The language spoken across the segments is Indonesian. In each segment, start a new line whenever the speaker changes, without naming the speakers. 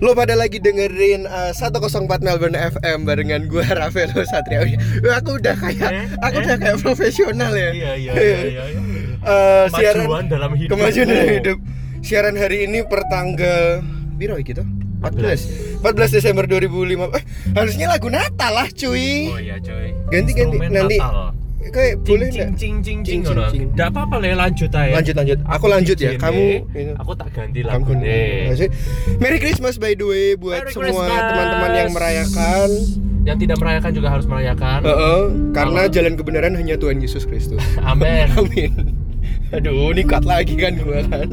Lo pada lagi dengerin eh, 104 Melbourne FM barengan gue Rafael Satria. Wih, Aku udah kayak
Eh,
aku
eh.
udah kayak profesional ya.
Iya, iya, iya, iya, iya.
Eh, siaran
Kemajuan dalam hidup. Oh.
Kemajuan dalam hidup. Siaran hari ini pertanggal biro ya gitu. 14 14 Desember 2005 eh, harusnya lagu Natal lah cuy
Oh iya coy.
Ganti, ganti.
Instrumen
Nanti
Natal.
kayak
Cing,
boleh
cing
nggak?
cing cing
Cing,
cing ngono.
cing, cing.
Nggak apa-apa le lanjut aja.
lanjut lanjut aku lanjut ya
Gini,
kamu ini.
Aku tak ganti
Kamu
lagu nih.
Maksud- Merry Christmas by the way buat
Merry
semua
Christmas.
teman-teman yang merayakan
Yang tidak merayakan juga harus merayakan.
Heeh, karena
Kalau-
jalan kebenaran hanya Tuhan Yesus Kristus.
Amin.
Amin. Aduh, ini cut lagi kan gua kan.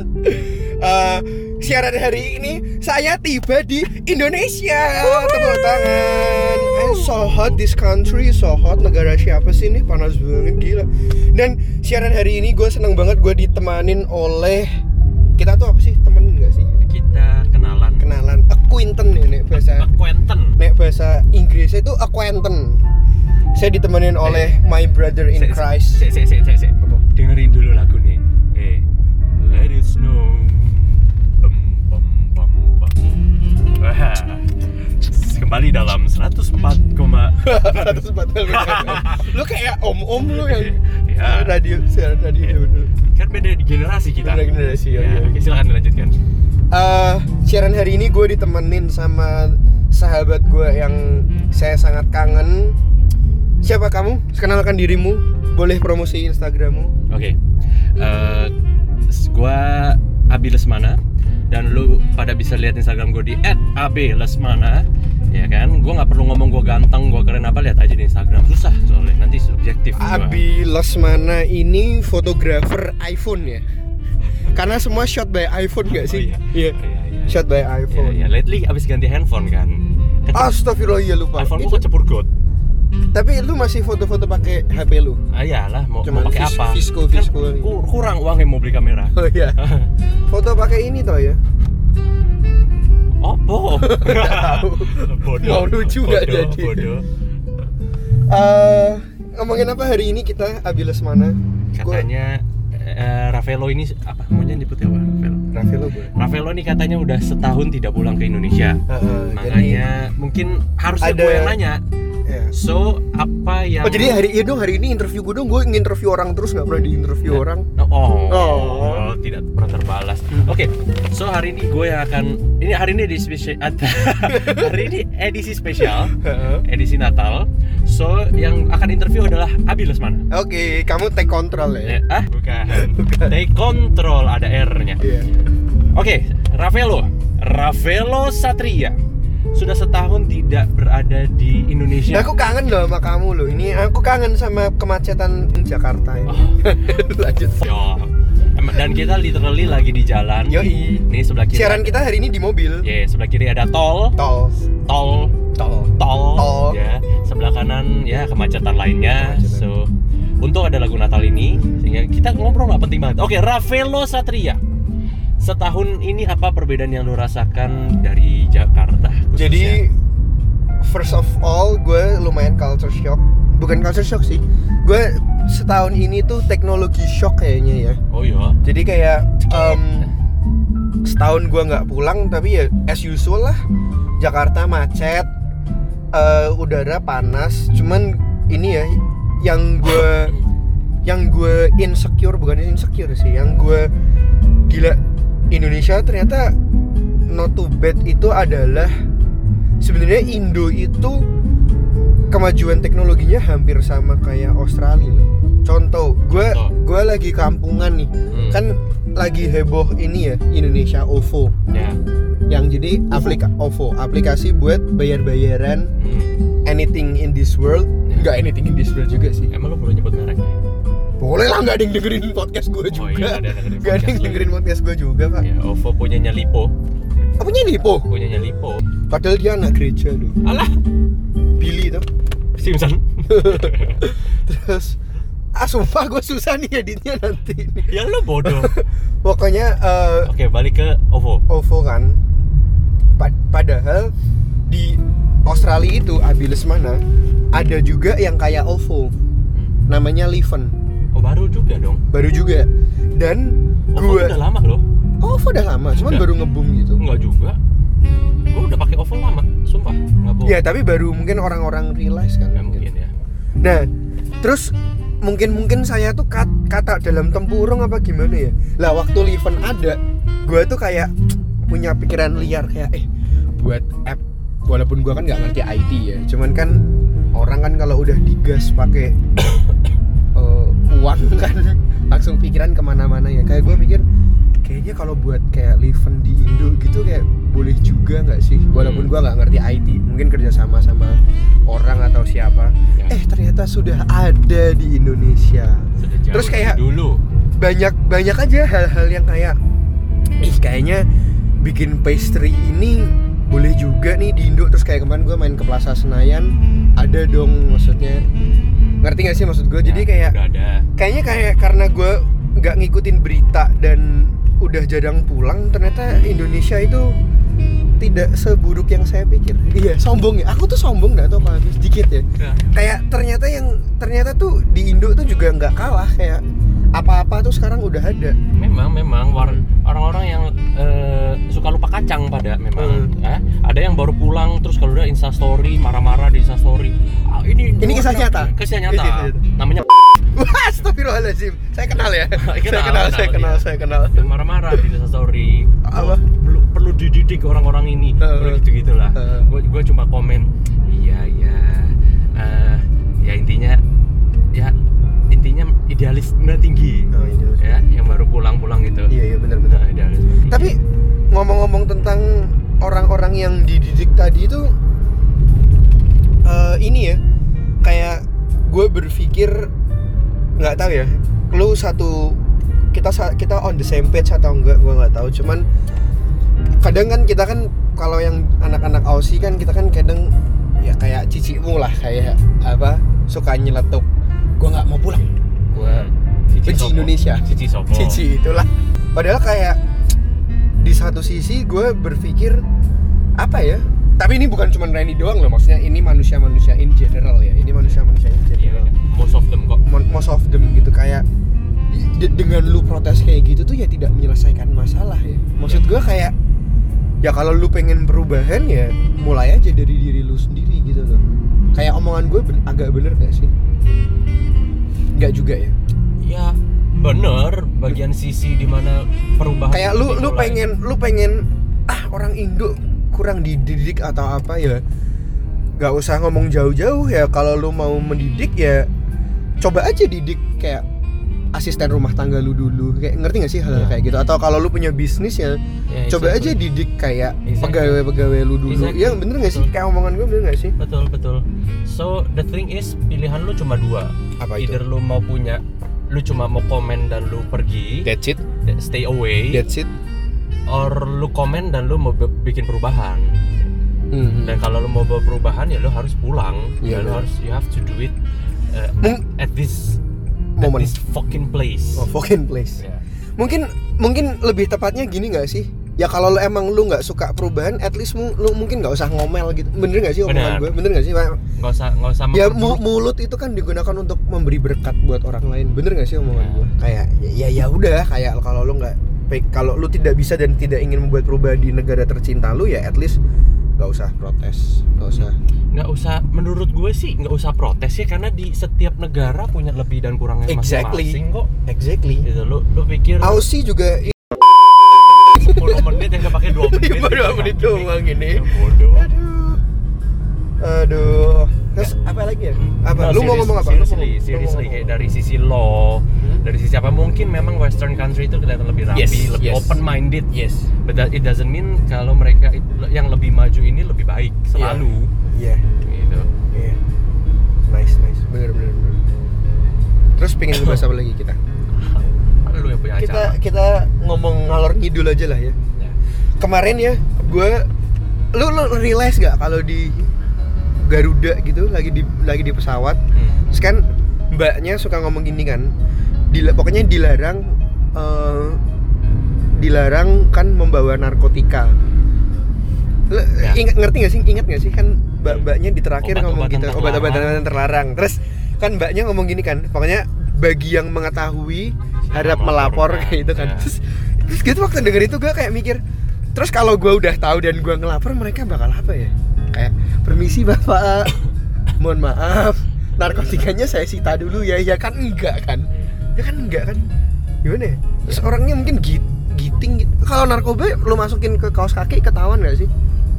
Eh, siaran hari ini saya tiba di Indonesia. Tepuk tangan. I'm so hot this country, so hot negara siapa sih ini panas banget gila. Dan siaran hari ini gue seneng banget gue ditemanin oleh kita tuh apa sih temen nggak sih?
Kita kenalan.
Kenalan, acquaintance ya nek bahasa
Acquaintance.
nek bahasa Inggrisnya itu acquaintance. Saya ditemanin oleh my brother in
Sik, sik,
Christ.
sik, sik, sik, sik, sik. Dengerin dulu lagu nih. Eh, let it snow. Pem, pem, pem, pem. Wah. Kembali dalam 104, koma-
140 lu kayak om om lu yang
Ya.
radio siaran radio
Iya.
dulu
kan beda di generasi oh kita.
Beda generasi, ya, iya.
Oke, silakan dilanjutkan.
Eh, siaran hari ini gue ditemenin sama sahabat gue yang
Hmm.
saya sangat kangen siapa kamu kenalkan dirimu boleh promosi instagrammu
Oke. Eh, s- gua Abi Lesmana dan lu pada bisa lihat Instagram gue di @ablesmana ya kan gue nggak perlu ngomong gue ganteng gue keren apa lihat aja di Instagram susah soalnya nanti subjektif gua.
Abi Lesmana ini fotografer iPhone ya karena semua shot by iPhone gak sih
Oh, iya. Iya, iya.
shot by
Iya,
iPhone
iya. Lately abis ganti handphone kan.
Hmm.
Kecepatan
Astagfirullah ya lupa
iPhone
Itu-
gue kecepur got.
tapi lu masih foto-foto pakai HP lu
Ah iyalah mau,
Cuman
mau pakai
vis-
apa?
visco,
Kan
visco.
ku- kurang uangnya mau beli kamera.
Oh iya. Foto pakai ini toh ya.
Opo.
tahu.
bodoh.
Mau lucu nggak
Bodoh,
jadi?
Bodoh.
Eh ngomongin apa hari ini kita Abiles mana?
Katanya eh, Ravelo ini apa? Maunya nyebut apa? Ravelo.
Raffi lo gue.
Ravelo ini katanya udah setahun tidak pulang ke Indonesia.
Heeh,
Makanya mungkin harusnya
ada-
gue yang nanya.
jadi, ya.
So apa yang?
Oh jadi hari iya dong hari ini interview gue dong gue interview orang terus nggak pernah diinterview orang.
No, Oh,
Oh. Hmm.
oh, tidak pernah terbalas. Oke, so hari ini gue yang akan ini hari ini di spesial hari ini edisi spesial
Heeh.
edisi Natal. So yang akan interview adalah Abi Lesmana.
Oke kamu take control ya.
Eh, ah, bukan. Take control ada R-nya.
Iya.
Oke, Ravelo, Ravelo Satria sudah setahun tidak berada di
Nah,
Indonesia.
aku kangen loh sama kamu loh. Ini aku kangen sama kemacetan Jakarta ini.
Oh.
Lanjut.
Yo. Em- Dan kita literally lagi di jalan.
Yoi.
Nih sebelah kiri.
Siaran kita hari ini di mobil.
Ya, sebelah kiri ada tol,
Tol.
tol,
Tol.
tol,
Tol.
ya. Sebelah kanan ya kemacetan lainnya.
Kemacetan.
So, untung ada lagu Natal ini sehingga kita ngobrol nggak penting banget. Oke, Ravelo Satria. Setahun ini apa perbedaan yang lo rasakan dari Jakarta? khususnya?
Jadi first of all gue lumayan culture shock. Bukan culture shock sih. Gue setahun ini tuh teknologi shock kayaknya ya.
oh iya.
Jadi kayak em, setahun gue nggak pulang tapi ya as usual lah. Jakarta macet, eh, udara panas. Cuman ini ya yang gue yang gue insecure bukan insecure sih, yang gue gila Indonesia ternyata not too bad itu adalah sebenarnya Indo itu kemajuan teknologinya hampir sama kayak Australia loh. Contoh, gue
Contoh.
gue lagi kampungan nih,
Hmm.
kan lagi heboh ini ya Indonesia OVO
ya.
yang jadi aplika OVO aplikasi buat bayar-bayaran
Hmm.
anything in this world,
Ya.
nggak anything in this world juga sih.
Emang lo perlu nyebut merek?
Boleh lah nggak ada yang dengerin podcast gue
Oh iya,
juga.
ada yang dengerin
Nggak ada yang
podcast lu.
dengerin podcast gue juga pak.
Ya, OVO punyanya Lipo,
Apanya nih po?
punyanya Lipo.
Padahal dia anak gereja loh.
Alah,
Billy tuh.
Simpson.
Terus ah sumpah gue susah nih editnya nanti.
ya lo bodoh.
Pokoknya eh,
Oke, balik ke OVO.
OVO kan. Pa- padahal di Australia itu Abilis mana ada juga yang kayak OVO
Hmm.
namanya Liven
Oh, baru juga dong.
baru juga dan gue
OVO udah lama loh.
OVO udah lama cuman
Udah.
baru ngebum gitu
Enggak juga. gue udah pakai oval lama sumpah nggak bohong
Ya tapi baru mungkin orang-orang realize kan.
Nggak mungkin ya
Nah, terus mungkin mungkin saya tuh kat- kata dalam tempurung apa gimana ya? Lah waktu event ada, gue tuh kayak punya pikiran liar kayak eh buat app walaupun gue kan nggak ngerti IT ya, cuman kan orang kan kalau udah digas pakai eh, uang kan langsung pikiran kemana-mana ya. Kayak gue mikir kayaknya kalau buat kayak event di Indo gitu kayak boleh juga nggak sih? Walaupun
Hmm.
gue nggak ngerti IT, mungkin kerjasama sama orang atau siapa
Ya,
eh ternyata sudah ada di Indonesia
sudah jauh
terus
dari
kayak-
dulu
banyak banyak aja hal-hal yang kayak ih kayaknya bikin pastry ini boleh juga nih di Indo terus kayak kemarin gue main ke Plaza Senayan ada dong maksudnya ngerti gak sih maksud gue jadi
Ya,
kayak
udah ada
kayaknya kayak karena gue nggak ngikutin berita dan udah jarang pulang ternyata Indonesia itu tidak seburuk yang saya pikir iya sombong ya aku tuh sombong dah atau apa sedikit ya
Ya.
kayak ternyata yang ternyata tuh di Indo tuh juga nggak kalah kayak apa-apa tuh sekarang udah ada
Memang, memang war- orang-orang yang eh, suka lupa kacang pada memang.
Hmm.
eh. Ada yang baru pulang terus kalau udah instastory marah-marah di instastory. Ah, ini
Ini kisah nyata?
Kisah nyata.
Ini kisah nyata.
Namanya
wah astagfirullahaladzim saya kenal ya saya
Kenal,
kenal
kenal,
saya kenal
iya.
saya kenal
marah-marah di instastory.
Apa?
Oh, perlu, perlu dididik orang-orang ini.
Heeh.
Udah gitu-gitu lah.
Heeh.
Gue gua cuma komen. Iya, iya. Eh, ya intinya ya intinya idealisme tinggi.
Oh, idealisme.
Ya, yang baru pulang-pulang gitu.
iya iya benar-benar
Nah, idealisme tinggi.
Tapi ngomong-ngomong tentang orang-orang yang dididik tadi itu eh, ini ya kayak gue berpikir nggak tahu ya lu satu kita sa- kita on the same page atau enggak gue nggak tahu cuman kadang kan kita kan kalau yang anak-anak Aussie kan kita kan kadang ya kayak cicimu lah kayak apa suka nyeletuk gue nggak mau pulang
gua Cici
Benci
Sopo.
Indonesia.
Cici Sopo
cici itulah padahal kayak di satu sisi gue berpikir apa ya tapi ini bukan cuma Rani doang loh maksudnya ini manusia-manusia in general ya ini manusia-manusia in
Iya,
general
most of them kok
Mon- most of them gitu kayak de- dengan lu protes kayak gitu tuh ya tidak menyelesaikan masalah ya maksud gue kayak ya kalau lu pengen perubahan ya mulai aja dari diri lu sendiri gitu loh kayak omongan gue ben- agak bener gak sih nggak juga ya
ya bener bagian sisi dimana perubahan
kayak lu lu
dimulai.
pengen lu pengen ah orang Indo kurang dididik atau apa ya nggak usah ngomong jauh-jauh ya kalau lu mau mendidik ya coba aja didik kayak asisten rumah tangga lu dulu kayak ngerti gak sih hal
Ya.
kayak gitu atau kalau lu punya bisnis ya
Ya,
coba
exactly.
aja didik kayak
Exactly.
pegawai-pegawai lu dulu
Exactly.
ya bener gak sih
Betul.
kayak omongan gue bener gak sih
betul betul so the thing is pilihan lu cuma dua
apa
either lu mau punya lu cuma mau komen dan lu pergi
that's it
that- stay away
it
or lu komen dan lu mau be- bikin perubahan
Mhm.
dan kalau lu mau buat perubahan ya lu harus pulang
Iya,
ya, lu
bener.
harus you have to do it uh,
Mung-
at this at
Momen.
this fucking place
oh, fucking place
Ya.
mungkin mungkin lebih tepatnya gini nggak sih ya kalau lu emang lu nggak suka perubahan at least mu- lu mungkin nggak usah ngomel gitu bener nggak sih omongan
Benar.
gue bener nggak sih Pak?
nggak usah nggak usah
ya
memperburuk.
mu- mulut itu kan digunakan untuk memberi berkat buat orang lain bener nggak sih omongan
Ya.
gue kayak ya- ya ya udah kayak kalau lu nggak pe- kalau lu tidak bisa dan tidak ingin membuat perubahan di negara tercinta lu ya at least nggak usah protes nggak usah
nggak usah menurut gue sih nggak usah protes ya karena di setiap negara punya lebih dan kurangnya
Exactly.
masing-masing kok
exactly
gitu lu lu pikir
Aussie juga
10 menit yang dipakai 2 menit
Baru Iya, dua menit doang ini.
Ya bodoh
aduh aduh terus apa lagi ya apa
Nah,
lu mau
serius-
ngomong apa Lu mau-
seriously,
lu mau
seriously,
ngomong
kayak
apa?
dari sisi law
Hmm?
dari sisi apa mungkin memang western country itu kelihatan lebih rapi
Yes,
lebih
yes.
open minded
yes
but that, it doesn't mean kalau mereka it- yang lebih maju ini lebih baik selalu
Iya,
gitu
iya. Nice, nice. Bener, bener, bener. Terus pengen ngebahas apa lagi kita?
Ada lu yang punya
Kita
acara
kita ngomong ngalor ngidul aja lah ya.
Ya.
Kemarin ya, gue lu lu realize gak kalau di Garuda gitu lagi di lagi di pesawat,
Hmm.
terus kan mbaknya suka ngomong gini kan, dila- pokoknya dilarang eh, dilarang kan membawa narkotika. Lu
Ya.
ingat ngerti gak sih? Ingat gak sih kan mbak-mbaknya di terakhir ngomong
Obat-obatan
gitu
terlarang.
obat-obatan terlarang. Terus kan mbaknya ngomong gini kan, pokoknya bagi yang mengetahui harap melapor
melaporkan,
kayak gitu kan.
ya.
Terus, terus gitu waktu denger itu gue kayak mikir, Terus kalau gua udah tahu dan gua ngelapor mereka bakal apa ya? Kayak permisi bapak, mohon maaf, narkotikanya saya sita dulu ya, ya kan enggak kan? Ya kan enggak kan? Gimana ya? Terus orangnya mungkin git giting gitu. Kalau narkoba lu masukin ke kaos kaki ketahuan gak sih?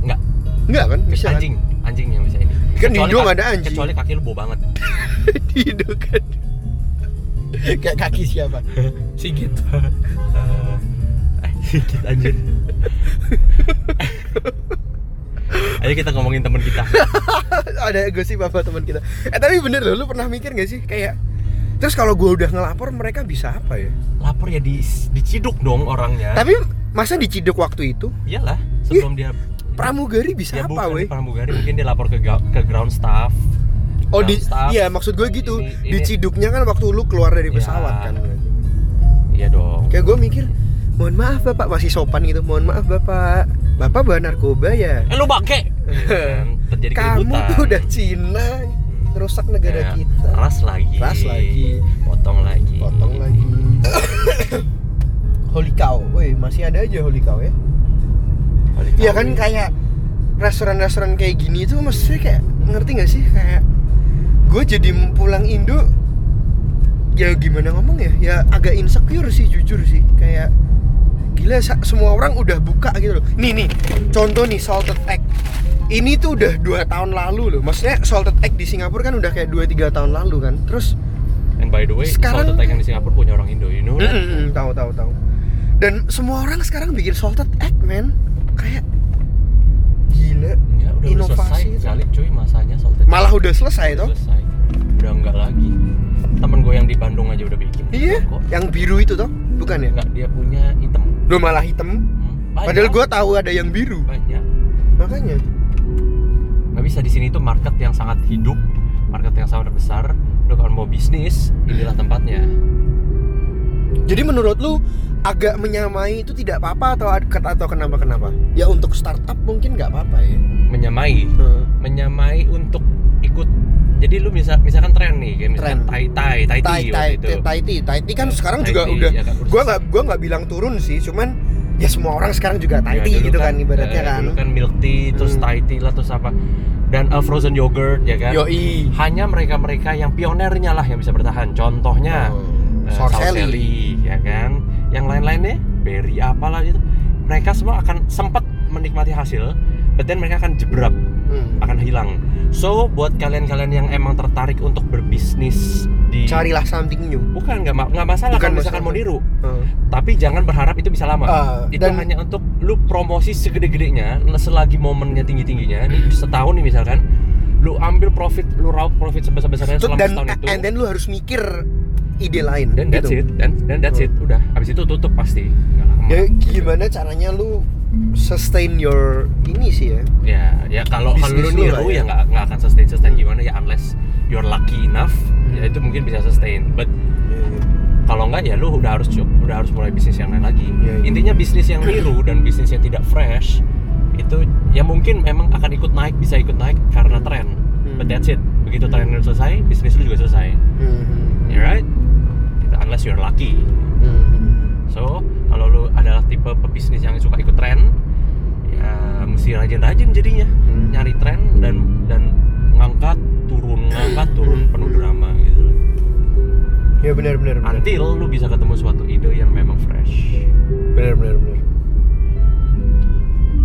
Enggak,
Enggak kan? Bisa kan?
anjing, anjing yang bisa ini.
Kan di
Kecuali
hidung
kaki-
ada anjing.
Kecuali kaki lu bau banget.
Di hidung kan. Kayak kaki siapa?
Sigit. Eh, Sigit anjir. Ayo kita ngomongin teman kita.
ada gosip apa teman kita eh tapi bener loh lu pernah mikir gak sih kayak terus kalau gue udah ngelapor mereka bisa apa ya
Lapor ya di diciduk dong orangnya.
tapi masa diciduk waktu itu
iyalah, sebelum dia
pramugari bisa
dia
apa
Ya, bukan
weh
pramugari, mungkin dia lapor ke ga- ke ground staff.
oh di
staff.
iya maksud gue gitu
Ini- ini-
diciduknya kan waktu lu keluar dari
Iya.
pesawat kan
Iya dong.
kayak gue mikir mohon maaf bapak masih sopan gitu mohon maaf bapak bapak bawa narkoba ya
Eh lu bangke. Iya kan, Terjadi
kamu
keributan.
tuh udah Cina rusak negara
Ya,
kita
Ras lagi.
Ras lagi.
Potong lagi.
potong lagi holy cow woi masih ada aja holy cow ya
Balik
Iya
lagi.
kan kayak restoran-restoran kayak gini tuh maksudnya kayak ngerti nggak sih kayak gue jadi pulang Indo ya gimana ngomong ya ya agak insecure sih jujur sih kayak gila sa- semua orang udah buka gitu loh nih nih contoh nih salted egg ini tuh udah dua tahun lalu loh maksudnya salted egg di Singapura kan udah kayak 2-3 tahun lalu kan terus
And by the way,
Sekarang-
salted egg yang di Singapura punya orang Indo, you know that?
Mm-mm, tahu tahu tahu. Dan semua orang sekarang bikin salted egg, man. Kayak gila.
Enggak, Ya, udah, udah selesai
Inovasi itu.
kali cuy masanya salted egg.
Malah udah selesai
Udah
toh.
selesai. Udah enggak lagi. Temen gue yang di Bandung aja udah bikin.
Iya,
Kok.
yang biru itu toh, bukan ya?
Enggak, dia punya hitam.
Udah malah hitam.
Hmm, banyak.
Padahal gua tahu ada yang biru.
banyak.
Makanya.
Nggak bisa di sini tuh market yang sangat hidup, market yang sangat besar. Lo kalau mau bisnis, inilah tempatnya.
Jadi menurut lu agak menyamai itu tidak apa-apa atau ad- atau kenapa kenapa? Ya untuk startup mungkin nggak apa-apa ya.
Menyamai,
Heeh.
menyamai untuk ikut. Jadi lu misal, misalkan tren nih, kayak misalkan
Tren.
tai tai tai
Tai
tea
tai
waktu itu.
tai tea, tai tea kan
Ya,
sekarang
Thai
juga
tea,
udah
ya kan, udah
gua nggak gua nggak bilang turun sih, cuman ya semua orang sekarang juga tai
Ya,
tea
dulu
gitu kan ibaratnya
eh,
kan.
dulu kan milk tea terus
Hmm.
Thai tea lah terus apa dan eh, frozen yogurt ya kan
Yoi.
hanya mereka-mereka yang pionernya lah yang bisa bertahan contohnya
Oh,
eh,
Sorcelli.
Sorcelli, ya kan yang lain-lainnya berry apalah itu mereka semua akan sempat menikmati hasil but then mereka akan jebrak
Hmm.
akan hilang so buat kalian-kalian yang emang tertarik untuk berbisnis di
Carilah something new.
bukan nggak ma- nggak masalah
Bukan
kalau misalkan
masalah.
mau niru tapi jangan berharap itu bisa lama
Ah,
itu
dan-
hanya untuk lu promosi segede-gedenya selagi momennya tinggi-tingginya
Hmm.
ini setahun nih misalkan lu ambil profit lu raup profit sebesar-besarnya
Tuh,
selama
dan
setahun itu
and then lu harus mikir ide lain. gitu.
dan that's it dan dan that's it udah habis itu tutup pasti Nggak lama.
Hmm. Ya gimana caranya lu sustain your ini sih ya?
ya ya kalau kalau lu
Bisnis lu lah
niru
ya.
ya nggak nggak akan sustain sustain
Hmm.
gimana ya unless you're lucky enough ya itu mungkin bisa sustain but kalau nggak ya lu udah harus udah harus mulai bisnis yang lain lagi
Iya, iya.
intinya bisnis yang biru dan bisnis yang tidak fresh itu ya mungkin memang akan ikut naik bisa ikut naik karena tren but that's it begitu tren itu selesai bisnis lu juga selesai
Hmm.
ya right unless you're lucky
Hmm.
so kalau lu adalah tipe pebisnis yang suka ikut tren ya mesti rajin-rajin jadinya
Hmm.
nyari tren dan dan ngangkat turun ngangkat turun penuh drama gitu loh
Ya benar benar benar.
until lu bisa ketemu suatu ide yang memang fresh
Benar benar benar.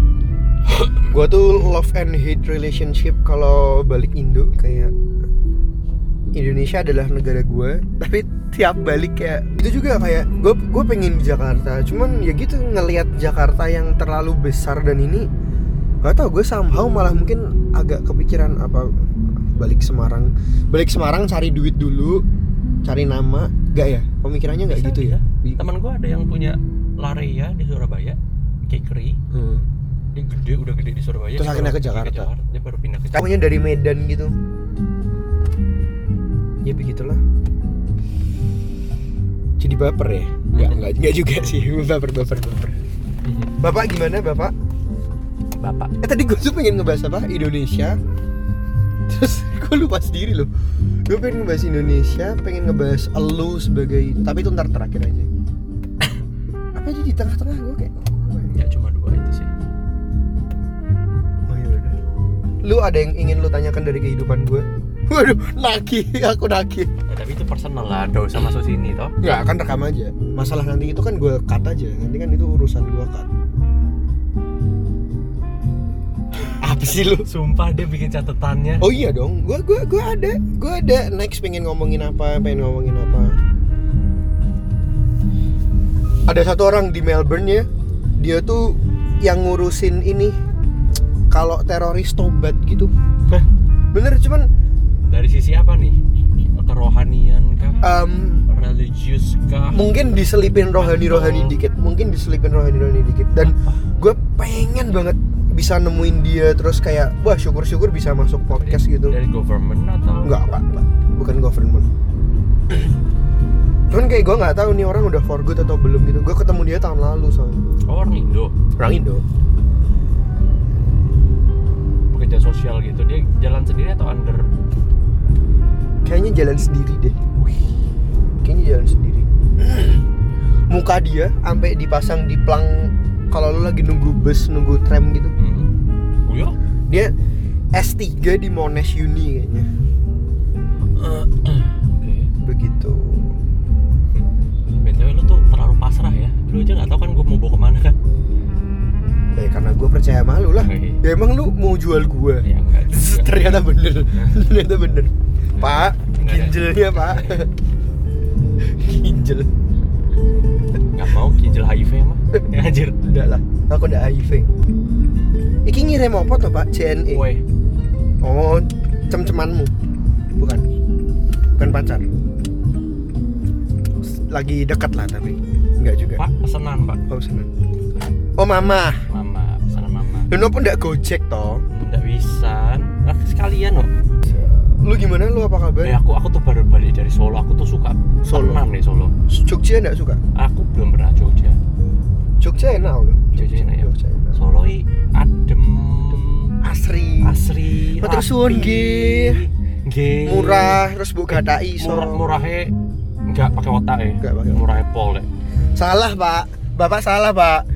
Gua tuh love and hate relationship kalau balik Indo kayak Indonesia adalah negara gue tapi tiap balik kayak itu juga kayak gue gue pengen di Jakarta cuman ya gitu ngelihat Jakarta yang terlalu besar dan ini gak tau gue somehow malah mungkin agak kepikiran apa balik Semarang balik Semarang cari duit dulu cari nama gak ya pemikirannya nggak
Bisa,
gitu ya Bi-
teman gua ada yang punya Larea di Surabaya bakery
Hmm.
dia gede udah gede di Surabaya
Terus
dia
akhirnya
baru-
ke Jakarta.
dia baru pindah ke
Kamunya dari Medan gitu ya begitulah jadi baper ya nggak nggak nggak juga sih baper baper baper
Iya,
bapak gimana bapak
bapak
eh tadi gue tuh pengen ngebahas apa Indonesia terus gue lupa sendiri loh gue pengen ngebahas Indonesia pengen ngebahas elu sebagai tapi itu ntar terakhir aja apa aja di tengah-tengah gue kayak ngomong apa ya?
ya cuma dua itu sih
Oh, iya, lu ada yang ingin lu tanyakan dari kehidupan gue waduh naki aku naki
Ya, tapi itu personal lah, ada usah masuk sini toh.
nggak kan rekam aja masalah nanti itu kan gue cut aja nanti kan itu urusan gue cut apa sih lu
Sumpah dia bikin catatannya.
oh iya dong gue gue gue ada gue ada next pengen ngomongin apa pengen ngomongin apa ada satu orang di Melbourne ya dia tuh yang ngurusin ini kalau teroris tobat gitu
Hah?
bener cuman
Dari sisi apa nih? Kerohanian kah?
em,
Religius kah?
mungkin diselipin rohani-rohani dikit mungkin diselipin rohani-rohani dikit dan gue pengen banget bisa nemuin dia terus kayak wah syukur-syukur bisa masuk podcast gitu
Dari government atau?
nggak apa Pak. bukan government cuman kayak gue nggak tahu nih orang udah for good atau belum gitu gue ketemu dia tahun lalu soalnya
Oh, orang Indo.
orang Indo
Pekerja sosial gitu. Dia jalan sendiri atau under?
kayaknya jalan sendiri deh kayaknya jalan sendiri muka dia sampai dipasang di plang kalau lu lagi nunggu bus nunggu tram gitu
Hmm. Oh, iya?
dia S3 di Monash Uni kayaknya
Eh, Oke.
begitu
BTW lu tuh terlalu pasrah ya. Lu aja nggak tahu kan gue mau bawa kemana kan?
ya karena gue percaya malu lah
Oke.
ya emang lu mau jual gue
Ya enggak.
ternyata bener ternyata bener pak
Enggak ada.
ginjelnya pak ginjel
Nggak mau kijel HIV mah. Ya, anjir.
udah lah aku udah HIV iki ngirim apa tuh pak CNE
Woi,
oh cem-cemanmu bukan bukan pacar lagi dekat lah tapi enggak juga
Pak, pesenan, Pak.
oh senang oh mama
Mama, pesanan mama.
Lu pun ndak gojek toh.
Nggak bisa. Nah, sekalian loh.
Lu gimana lu apa kabar?
Eh, aku aku tuh baru balik dari Solo. Aku tuh suka
Solo.
tenang nih Solo.
Jogja ndak suka?
Aku belum pernah Jogja.
Jogja enak lu.
Jogja enak ya?
Jogja enak.
Solo i adem,
Asri.
asri,
Matur suwun, nggih.
Nggih.
Murah terus bu gak tak iso.
Murah murahnya nggak pakai otak ya.
Nggak pakai otak.
Murahnya pol ya.
Salah, Pak. Bapak salah, Pak.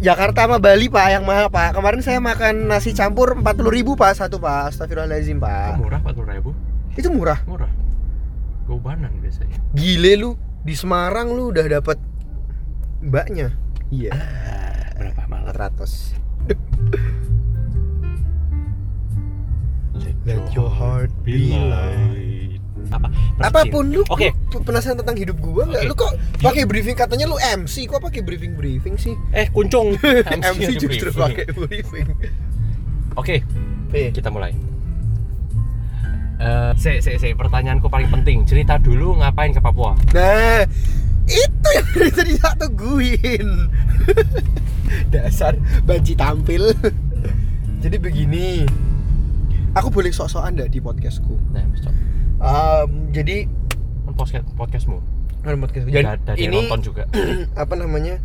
Jakarta sama Bali, Pak, yang mahal, Pak. Kemarin saya makan nasi campur 40.000, Pak, satu, Pak. Astagfirullahalazim, Pak.
Murah 40 ribu.
Itu murah.
Murah. Gobanan biasanya.
Gile lu. Di Semarang lu udah dapet mbaknya. Iya,
Berapa malah?
400.
Let,
Let your heart be
light. Apa? Bersin.
apapun lu
Oke.
lu penasaran tentang hidup gua nggak
Oke.
lu kok pakai briefing katanya lu MC kok pakai briefing briefing sih
Eh, kuncung.
MC justru
briefing.
pakai briefing
Oke,
eh
kita mulai. Eh, se, se, se, pertanyaanku paling penting. Cerita dulu ngapain ke Papua?
nah itu yang dari tadi tak tungguin dasar banci tampil jadi begini aku boleh sok-sokan nggak di podcastku
Nah, stop.
Em, jadi
Kan podcast podcastmu.
kan podcastku
Jadi ada yang
ini
nonton juga.
apa namanya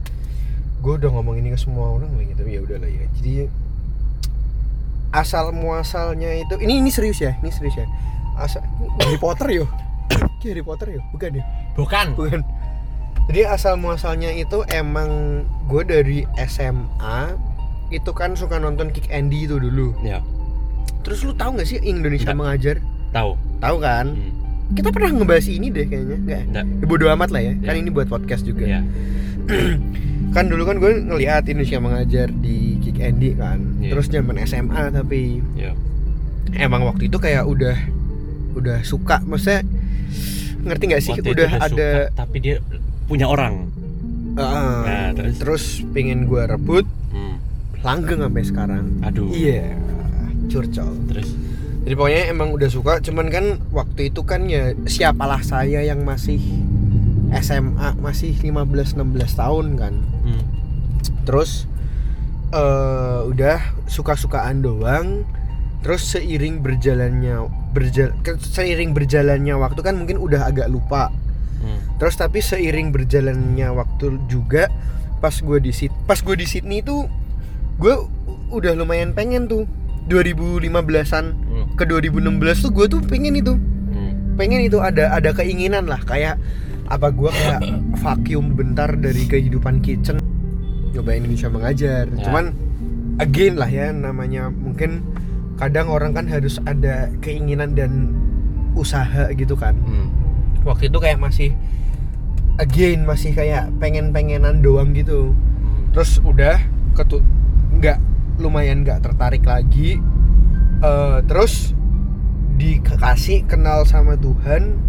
gue udah ngomong ini ke semua orang lagi tapi ya udahlah ya jadi asal muasalnya itu ini ini serius ya ini serius ya asal Harry Potter yo Ki Harry Potter yo bukan ya
Bukan.
bukan jadi asal muasalnya itu emang gue dari SMA itu kan suka nonton Kick Andy itu dulu
Ya,
terus lu tahu nggak sih Indonesia
Nggak.
mengajar
tahu.
tahu kan
Hmm,
kita pernah ngebahas ini deh kayaknya nggak
Nggak.
ya, bodo amat lah ya kan
Ya.
ini buat podcast juga
Ya,
kan dulu kan gue ngeliat Indonesia mengajar di Kick Andy kan
Iya.
terus zaman SMA tapi
ya.
emang waktu itu kayak udah udah suka maksudnya ngerti nggak sih
Waktu itu
udah
dia
ada
suka, tapi dia punya orang.
Ah,
Nah,
terus.
terus?
pengen gue rebut
Hmm,
langgeng sampai sekarang
Aduh.
iya curcol
Terus
jadi pokoknya emang udah suka cuman kan waktu itu kan ya siapalah saya yang masih SMA masih 15-16 tahun kan
hmm,
terus eh udah suka-sukaan doang terus seiring berjalannya berjal ke- seiring berjalannya waktu kan mungkin udah agak lupa
hmm.
terus tapi seiring berjalannya waktu juga pas gue di Syd- pas gue di Sydney itu gue udah lumayan pengen tuh 2015an
Hmm.
ke 2016 tuh gue tuh pengen itu
hmm.
pengen itu ada ada keinginan lah kayak apa gua kayak vacuum bentar dari kehidupan kitchen nyobain Indonesia mengajar
Ya.
cuman again lah ya namanya mungkin kadang orang kan harus ada keinginan dan usaha gitu kan
Hmm.
waktu itu kayak masih again masih kayak pengen-pengenan doang gitu
Hmm.
terus udah ketu nggak lumayan nggak tertarik lagi Eh, terus dikasih kenal sama Tuhan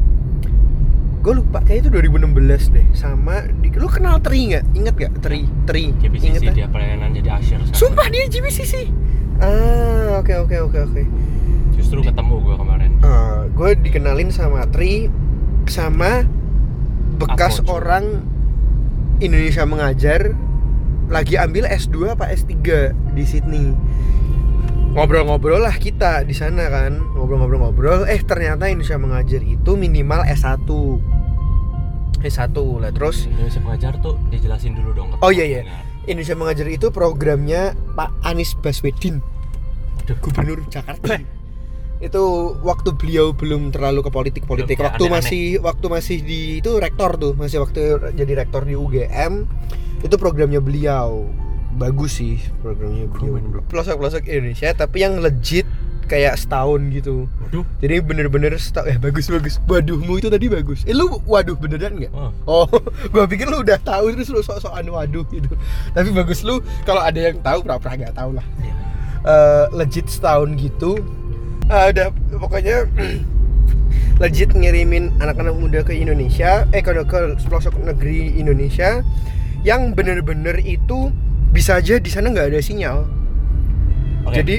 gue lupa kayak itu 2016 deh sama di, lu kenal Tri nggak inget nggak Tri Tri
JPCC
Inget nggak?
dia pelayanan jadi asyir sekarang.
sumpah dia GBCC ah oke oke oke oke
Justru ketemu gua kemarin.
gue Eh, dikenalin sama Tri sama bekas
Apojo.
orang Indonesia mengajar lagi ambil S2 apa S3 di Sydney ngobrol-ngobrol lah kita di sana kan ngobrol-ngobrol-ngobrol eh ternyata Indonesia mengajar itu minimal S1 S1 lah terus
Indonesia pengajar tuh dijelasin dulu dong. ke
Oh, iya, iya.
pendengar.
Indonesia mengajar itu programnya Pak Anies Baswedan
Aduh,
Gubernur
Eh.
Jakarta itu waktu beliau belum terlalu ke politik politik
Belum, ya,
waktu
aneh-aneh.
masih waktu masih di itu rektor tuh masih waktu jadi rektor di UGM itu programnya beliau bagus sih programnya beliau
Komen, bro.
pelosok pelosok Indonesia tapi yang legit kayak setahun gitu
Waduh.
jadi bener-bener setahun eh bagus bagus waduhmu itu tadi bagus eh lu waduh beneran nggak
Oh,
Oh, gua pikir lu udah tahu terus lu sok-sokan waduh gitu. Tapi bagus lu kalau ada yang tahu pernah pernah nggak tahu lah.
iya.
Eh, legit setahun gitu. Eh, udah pokoknya legit ngirimin anak-anak muda ke Indonesia, eh ke, ke pelosok negeri Indonesia yang bener-bener itu bisa aja di sana nggak ada sinyal.
Oke.
Jadi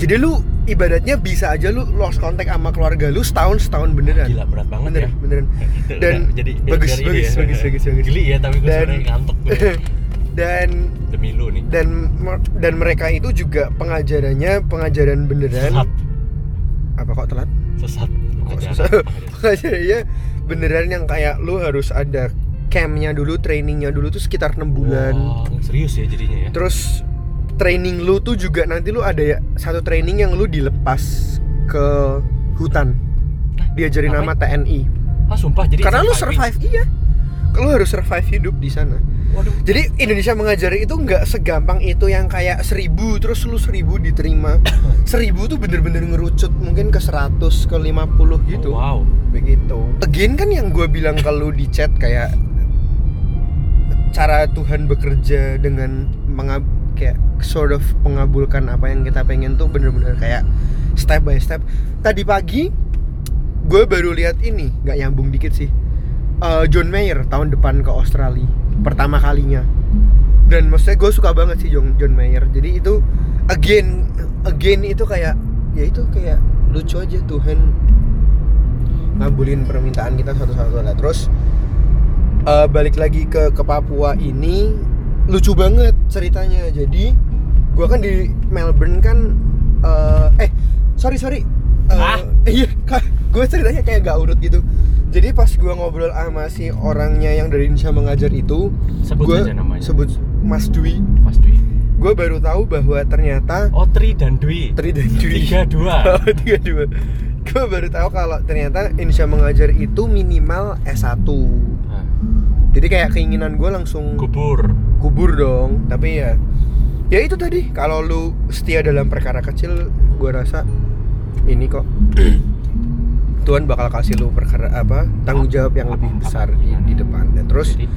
jadi lu ibaratnya bisa aja lu lost contact sama keluarga lu setahun setahun beneran.
gila berat banget
beneran,
ya.
beneran.
Gitu,
Dan
udah, jadi biar-
bagus,
biar ini
bagus,
ya.
bagus, bagus, bagus.
Geli ya tapi gue
Dan-
sebenarnya ngantuk gue
Dan
demi lu nih.
dan mer- dan mereka itu juga pengajarannya pengajaran beneran
Sesat,
apa kok telat
sesat. Pengajaran,
sesat?
pengajaran.
pengajarannya ya, beneran yang kayak lu harus ada campnya dulu trainingnya dulu tuh sekitar enam bulan
Wah, serius ya jadinya ya.
terus training lu tuh juga nanti lu ada ya satu training yang lu dilepas ke hutan diajarin nama TNI
Ah sumpah jadi
karena lu
surviving.
survive iya lu harus survive hidup di sana
Waduh.
Jadi Indonesia mengajari itu nggak segampang itu yang kayak seribu terus lu seribu diterima. seribu tuh bener-bener ngerucut mungkin ke 100 ke 50 gitu.
Oh, Wow.
Begitu. Again kan yang gue bilang ke lu di chat kayak cara Tuhan bekerja dengan mengab kayak sort of mengabulkan apa yang kita pengen tuh bener-bener kayak step by step. Tadi pagi gue baru lihat ini nggak nyambung dikit sih. Eh, John Mayer tahun depan ke Australia pertama kalinya dan maksudnya gue suka banget sih John, John Mayer jadi itu again again itu kayak ya itu kayak lucu aja Tuhan ngabulin permintaan kita satu-satu lah terus eh, balik lagi ke ke Papua ini lucu banget ceritanya jadi gue kan di Melbourne kan eh, eh sorry sorry Eh,
Ah?
iya gue ceritanya kayak gak urut gitu jadi pas gue ngobrol sama si orangnya yang dari Indonesia mengajar itu
Sebut
Gua
aja namanya.
sebut Mas Dwi
Mas Dwi.
gue baru tahu bahwa ternyata
Oh Tri dan Dwi.
Tri dan Dwi Oh,
Tiga dua.
tiga dua gue baru tahu kalau ternyata Indonesia mengajar itu minimal S1
Nah,
jadi kayak keinginan gue langsung
Kubur.
kubur dong tapi ya ya itu tadi kalau lu setia dalam perkara kecil gue rasa ini kok Tuhan bakal kasih lu perkara apa tanggung jawab yang lebih besar di, di depan dan terus
Jadi,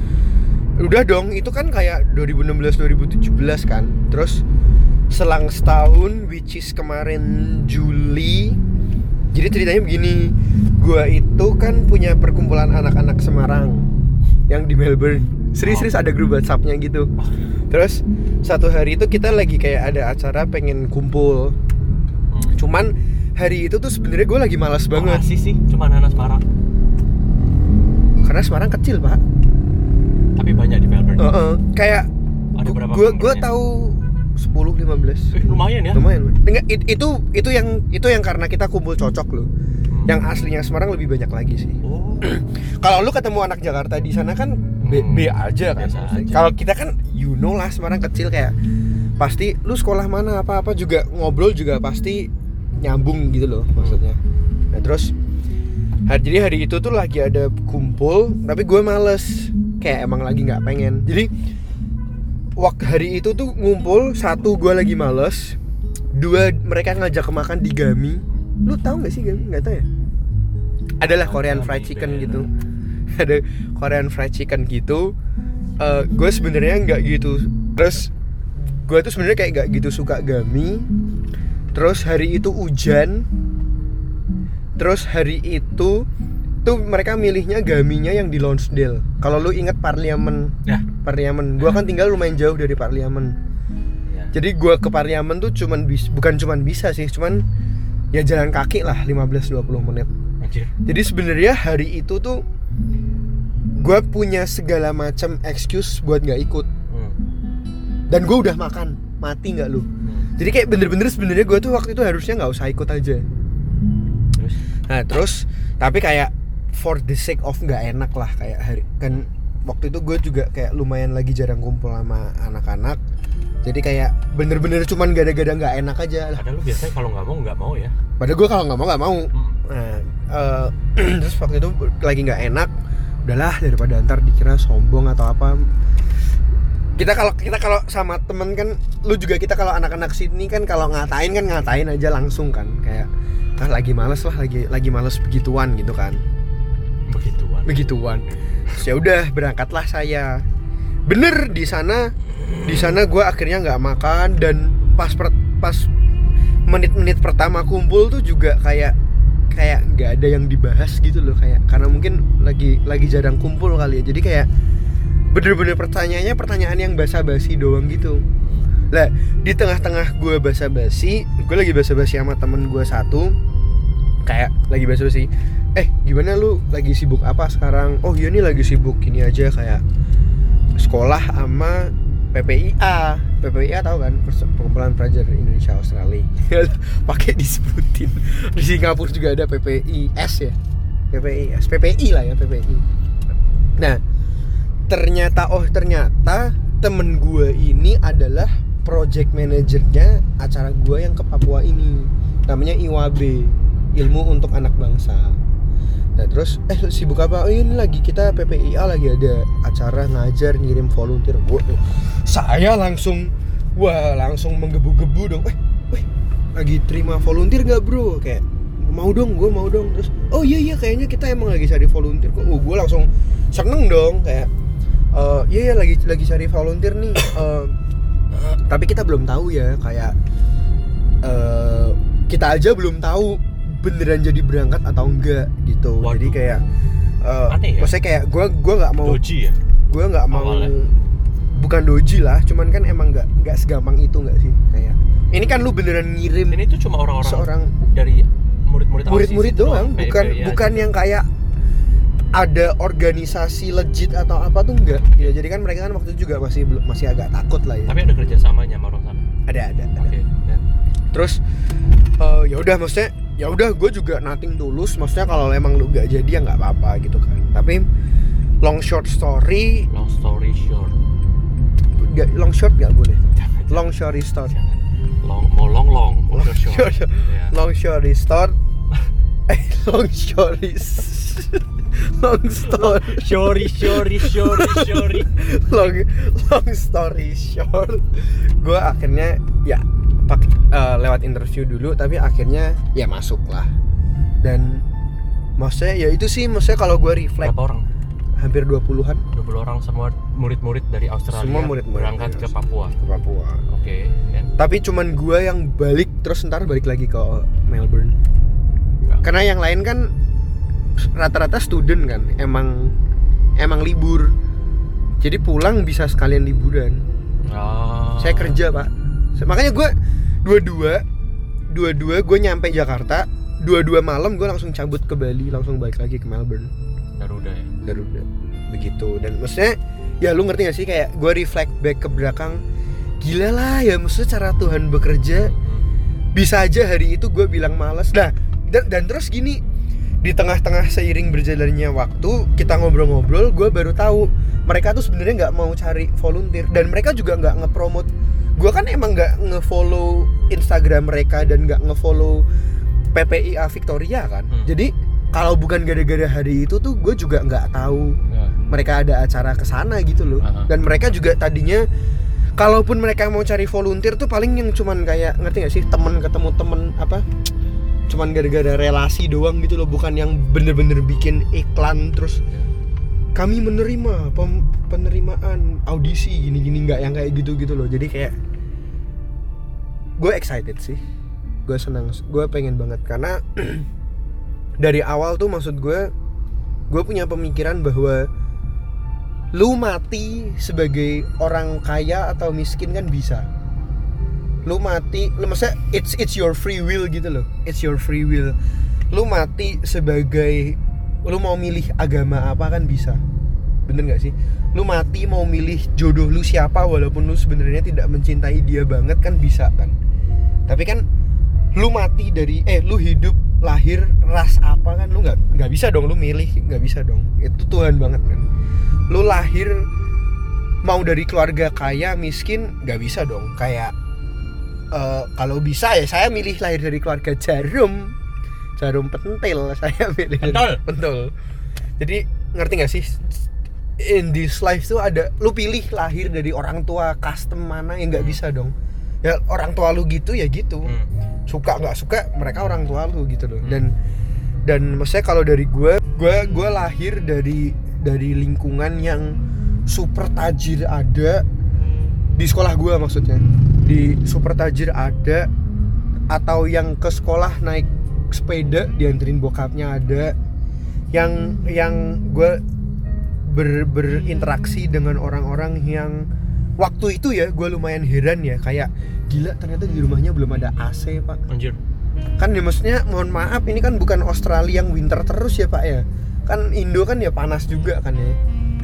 udah dong itu kan kayak 2016 2017 kan terus selang setahun which is kemarin Juli jadi ceritanya begini gua itu kan punya perkumpulan anak-anak Semarang yang di Melbourne serius-serius ada grup WhatsAppnya gitu terus satu hari itu kita lagi kayak ada acara pengen kumpul
hmm.
cuman hari itu tuh sebenarnya gue lagi malas
Kok
banget
Asis sih, cuma nanas parang.
karena Semarang kecil pak
Tapi banyak di Melbourne.
Heeh. kayak
Ada berapa
gue gue
membernya?
tahu 10 15
Eh, lumayan ya.
lumayan Mas. Enggak, it- itu itu yang itu yang karena kita kumpul cocok loh
Hmm.
yang aslinya Semarang lebih banyak lagi sih
Oh.
kalau lu ketemu anak Jakarta di sana kan B,
Hmm.
B aja kan
Biasa
maksudnya.
aja.
kalau kita kan you know lah Semarang kecil kayak pasti lu sekolah mana apa apa juga ngobrol juga pasti nyambung gitu loh maksudnya nah terus hari jadi hari itu tuh lagi ada kumpul tapi gue males kayak emang lagi nggak pengen jadi waktu hari itu tuh ngumpul satu gue lagi males dua mereka ngajak ke makan di Gami lu tahu nggak sih Gami nggak tahu ya adalah Korean fried chicken gitu ada Korean fried chicken gitu Eh gue sebenarnya nggak gitu terus gue tuh sebenarnya kayak nggak gitu suka Gami terus hari itu hujan terus hari itu tuh mereka milihnya gaminya yang di Lonsdale kalau lu inget parlemen
Ya.
parlemen gua kan tinggal lumayan jauh dari parlemen
Ya.
jadi gua ke Pariaman tuh cuman bis, bukan cuman bisa sih, cuman ya jalan kaki lah 15-20 menit.
Anjir.
Jadi sebenarnya hari itu tuh gua punya segala macam excuse buat nggak ikut
Hmm.
dan gua udah makan mati nggak lu
Hmm.
jadi kayak bener-bener sebenarnya gua tuh waktu itu harusnya nggak usah ikut aja
Terus?
nah terus tapi kayak for the sake of nggak enak lah kayak hari kan waktu itu gue juga kayak lumayan lagi jarang kumpul sama anak-anak jadi kayak bener-bener cuman gara-gara nggak enak aja lah
Padahal lu biasanya kalau nggak mau nggak mau ya.
Padahal gue kalau nggak mau nggak mau.
Hmm.
Nah, eh, terus waktu itu lagi nggak enak. Udahlah daripada ntar dikira sombong atau apa. Kita kalau kita kalau sama temen kan, lu juga kita kalau anak-anak Sydney kan kalau ngatain kan ngatain aja langsung kan kayak ah lagi males lah lagi lagi males begituan gitu kan
Begituan.
begituan Terus ya udah berangkatlah saya bener di sana di sana gue akhirnya nggak makan dan pas per- pas menit-menit pertama kumpul tuh juga kayak kayak nggak ada yang dibahas gitu loh kayak karena mungkin lagi lagi jarang kumpul kali ya jadi kayak bener-bener pertanyaannya pertanyaan yang basa-basi doang gitu lah di tengah-tengah gue basa-basi gue lagi basa-basi sama temen gue satu kayak lagi basa-basi eh gimana lu lagi sibuk apa sekarang oh iya nih lagi sibuk ini aja kayak sekolah sama PPIA PPIA tahu kan Perse- perkumpulan pelajar Indonesia Australia pakai disebutin di Singapura juga ada PPIS ya PPIS PPI lah ya PPI nah ternyata oh ternyata temen gue ini adalah project manajernya acara gue yang ke Papua ini namanya Iwabe ilmu untuk anak bangsa nah terus eh lu sibuk apa oh ini lagi kita PPIA lagi ada acara ngajar ngirim volunteer Waduh, saya langsung wah langsung menggebu-gebu dong eh weh, lagi terima volunteer gak bro kayak mau dong gue mau dong terus oh iya iya kayaknya kita emang lagi cari volunteer kok gue langsung seneng dong kayak "Eh, iya iya lagi lagi cari volunteer nih Eh, tapi kita belum tahu ya kayak eh, kita aja belum tahu beneran jadi berangkat atau enggak gitu jadi
Waduh.
kayak eh,
Aneh ya?
maksudnya kayak gue gua nggak mau Hmm.
Doji ya.
gue nggak mau
Awalnya.
bukan doji lah cuman kan emang nggak nggak segampang itu nggak sih kayak ini kan lu beneran ngirim
Ini tuh cuma orang-orang
seorang
dari murid-murid awal
murid-murid
season doang, Iya,
doang bukan
PPI aja.
bukan yang kayak ada organisasi legit atau apa tuh enggak ya jadi kan mereka kan waktu itu juga masih belum- masih agak takut lah ya
Tapi ada kerjasamanya sama orang sana.
ada ada ada
Oke. ya.
terus eh, ya udah maksudnya ya udah gue juga nothing tulus maksudnya kalau emang lu nggak jadi ya nggak apa-apa gitu kan tapi long short story
Long story short.
nggak- long short nggak boleh
Jangan,
long story story
jangan. Long, mau long long, mau short short. Ya.
long story short eh long story s- long story
Shori shori shori shori.
long long story short gue akhirnya ya pak eh, lewat interview dulu tapi akhirnya ya masuk lah dan maksudnya ya itu sih maksudnya kalau gue reflect
Berapa orang?
hampir 20-an
20 orang semua murid-murid dari Australia
Semua murid-murid Iya.
berangkat
dari
ke Papua.
ke Papua
Oke, kan?
tapi cuman gue yang balik terus ntar balik lagi ke Melbourne
Enggak.
karena yang lain kan rata-rata student kan emang emang libur jadi pulang bisa sekalian liburan
Oh.
saya kerja pak Se- makanya gue dua-dua dua-dua gue nyampe Jakarta dua-dua malam gue langsung cabut ke Bali langsung balik lagi ke Melbourne
Garuda ya.
Garuda begitu dan maksudnya ya lu ngerti gak sih kayak gue reflect back ke belakang gila lah ya maksudnya cara Tuhan bekerja bisa aja hari itu gue bilang males nah dan, dan terus gini di tengah-tengah seiring berjalannya waktu kita ngobrol-ngobrol gue baru tahu mereka tuh sebenarnya nggak mau cari volunteer dan mereka juga nggak ngepromote gue kan emang nggak ngefollow Instagram mereka dan nggak ngefollow PPIA Victoria kan
Hmm.
jadi kalau bukan gara-gara hari itu tuh gue juga nggak tahu
Enggak.
mereka ada acara ke sana gitu loh
Aha.
dan mereka juga tadinya kalaupun mereka mau cari volunteer tuh paling yang cuman kayak ngerti gak sih temen ketemu temen apa cuman gara-gara relasi doang gitu loh bukan yang bener-bener bikin iklan terus kami menerima pem- penerimaan audisi gini-gini nggak yang kayak gitu-gitu loh jadi kayak gue excited sih gue senang gue pengen banget karena dari awal tuh maksud gue gue punya pemikiran bahwa lu mati sebagai orang kaya atau miskin kan bisa lu mati lu maksudnya it's it's your free will gitu loh it's your free will lu mati sebagai lu mau milih agama apa kan bisa bener nggak sih lu mati mau milih jodoh lu siapa walaupun lu sebenarnya tidak mencintai dia banget kan bisa kan tapi kan lu mati dari eh lu hidup lahir ras apa kan lu nggak nggak bisa dong lu milih nggak bisa dong itu Tuhan banget kan lu lahir mau dari keluarga kaya miskin nggak bisa dong kayak eh, kalau bisa ya saya milih lahir dari keluarga jarum jarum pentil saya milih
Pentol.
Pentol. jadi ngerti nggak sih in this life tuh ada lu pilih lahir dari orang tua custom mana yang nggak bisa dong ya orang tua lu gitu ya gitu
Hmm.
suka nggak suka mereka orang tua lu gitu loh
Hmm.
dan dan maksudnya kalau dari gue gue gue lahir dari dari lingkungan yang super tajir
Hmm.
ada di sekolah gue maksudnya di super tajir ada atau yang ke sekolah naik sepeda dianterin bokapnya ada yang yang gue ber- berinteraksi dengan orang-orang yang waktu itu ya gue lumayan heran ya kayak gila ternyata di rumahnya belum ada AC pak
Anjir.
kan ya maksudnya mohon maaf ini kan bukan Australia yang winter terus ya pak ya kan Indo kan ya panas juga kan ya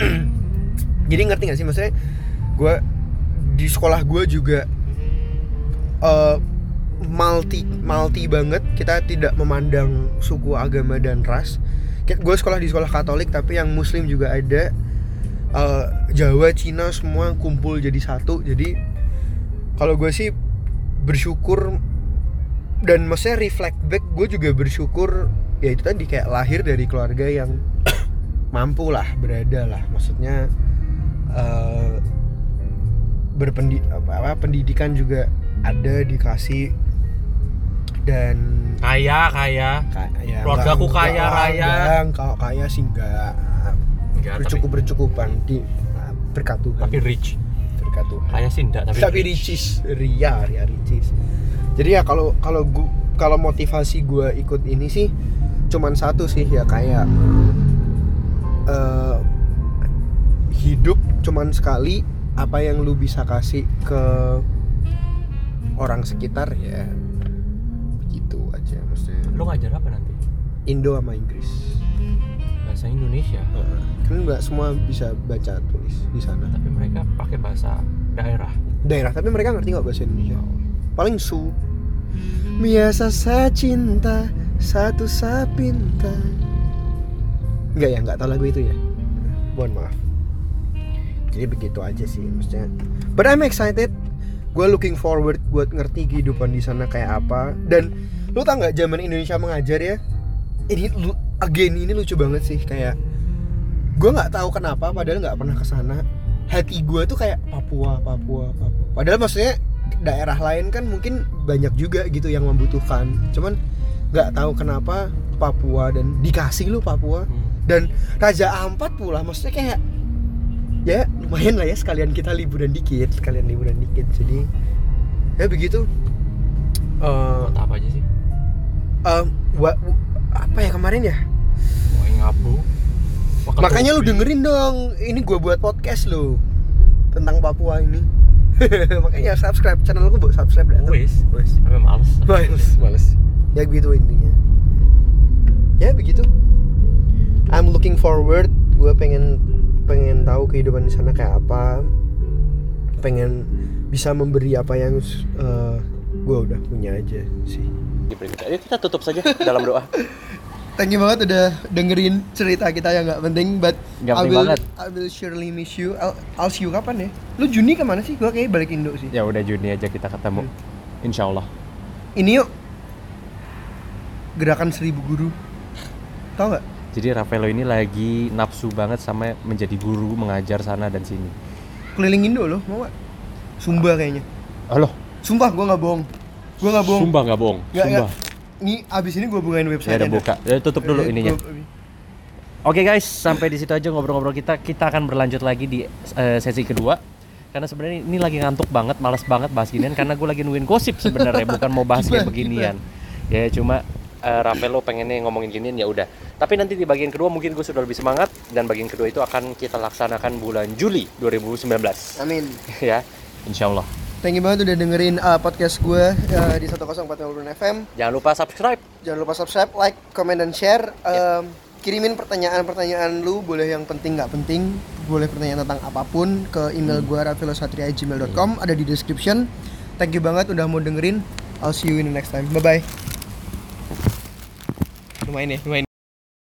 jadi ngerti nggak sih maksudnya gue di sekolah gue juga eh, multi multi banget kita tidak memandang suku agama dan ras gue sekolah di sekolah Katolik tapi yang Muslim juga ada Eh, Jawa Cina semua kumpul jadi satu jadi kalau gue sih bersyukur dan maksudnya reflect back gue juga bersyukur ya itu tadi kayak lahir dari keluarga yang mampu lah berada lah maksudnya eh berpendi apa, apa, pendidikan juga ada dikasih dan
Kaya, kaya.
kayak
Keluarga ku kaya raya.
kalau kaya sih enggak
Enggak, Ya, tapi,
bercukup bercukupan di ah, berkat Tuhan
tapi rich.
berkat Tuhan
Kaya sih enggak, tapi,
tapi ricis ria ria ricis jadi ya kalau kalau gu- kalau motivasi gue ikut ini sih cuman satu sih ya kayak eh, hidup cuman sekali apa yang lu bisa kasih ke orang sekitar ya gitu aja maksudnya
Lu ngajar apa nanti?
Indo sama Inggris
Bahasa Indonesia.
Heeh. kan nggak semua bisa baca tulis di sana
Tapi mereka pakai bahasa daerah.
daerah tapi mereka ngerti nggak bahasa Indonesia paling su biasa saya cinta satu sa pinta nggak ya nggak tahu lagu itu ya mohon maaf jadi begitu aja sih maksudnya but I'm excited gue looking forward buat ngerti kehidupan di sana kayak apa dan lu tau nggak zaman Indonesia mengajar ya ini lu again ini lucu banget sih kayak gue nggak tahu kenapa padahal nggak pernah ke sana hati gue tuh kayak Papua Papua Papua padahal maksudnya daerah lain kan mungkin banyak juga gitu yang membutuhkan cuman nggak tahu kenapa Papua dan dikasih lu Papua
Hmm.
dan Raja Ampat pula maksudnya kayak ya lumayan lah ya sekalian kita liburan dikit sekalian liburan dikit jadi ya begitu Eh,
Kota apa aja sih?
em, wa- apa ya kemarin ya
Wah, ngapu. Wah, ketubi.
makanya lu dengerin dong ini gua buat podcast lo tentang Papua ini makanya subscribe channel gua buat subscribe dah tuh.
Wes,
Wes.
sampai males.
males males ya gitu intinya ya begitu I'm looking forward gue pengen pengen tahu kehidupan di sana kayak apa pengen bisa memberi apa yang gue udah punya aja sih
Ayo kita tutup saja dalam doa.
thank you banget udah dengerin cerita kita yang nggak penting but
Nggak
I
penting
will
banget.
I will surely miss you I'll, I'll see you kapan ya lu Juni kemana sih gue kayaknya balik Indo sih
Ya udah Juni aja kita ketemu. Insya Allah.
ini yuk gerakan seribu guru tau nggak
Jadi Ravelo ini lagi nafsu banget sama menjadi guru, mengajar sana dan sini.
keliling Indo loh mau gak? Sumba kayaknya.
Halo,
Sumpah gua nggak bohong. Gua nggak bohong.
Sumba nggak bohong?
Nggak,
Sumba.
nggak. Nih abis ini gua bukain
Ya
website.
udah buka. Ya, tutup dulu
Eh,
ininya. Oke guys, sampai di situ aja ngobrol-ngobrol kita. Kita akan berlanjut lagi di eh, sesi kedua. Karena sebenarnya ini lagi ngantuk banget, males banget bahas ginian karena gue lagi nungguin gosip sebenarnya, bukan mau bahas kayak beginian. Ya cuma eh, Rafael lo pengennya ngomongin ginian ya udah. Tapi nanti di bagian kedua mungkin gue sudah lebih semangat dan bagian kedua itu akan kita laksanakan bulan Juli 2019
Amin.
ya. Insya Allah.
Thank you banget udah dengerin uh, podcast gue uh, di 104.0 FM.
Jangan lupa subscribe.
Jangan lupa subscribe, like, comment, dan share. Um, kirimin pertanyaan-pertanyaan lu, boleh yang penting nggak penting, boleh pertanyaan tentang apapun ke email gua ravilosatria@gmail.com ada di description. Thank you banget udah mau dengerin. I'll see you in the next time. Bye bye. Lumayan ya, lumayan.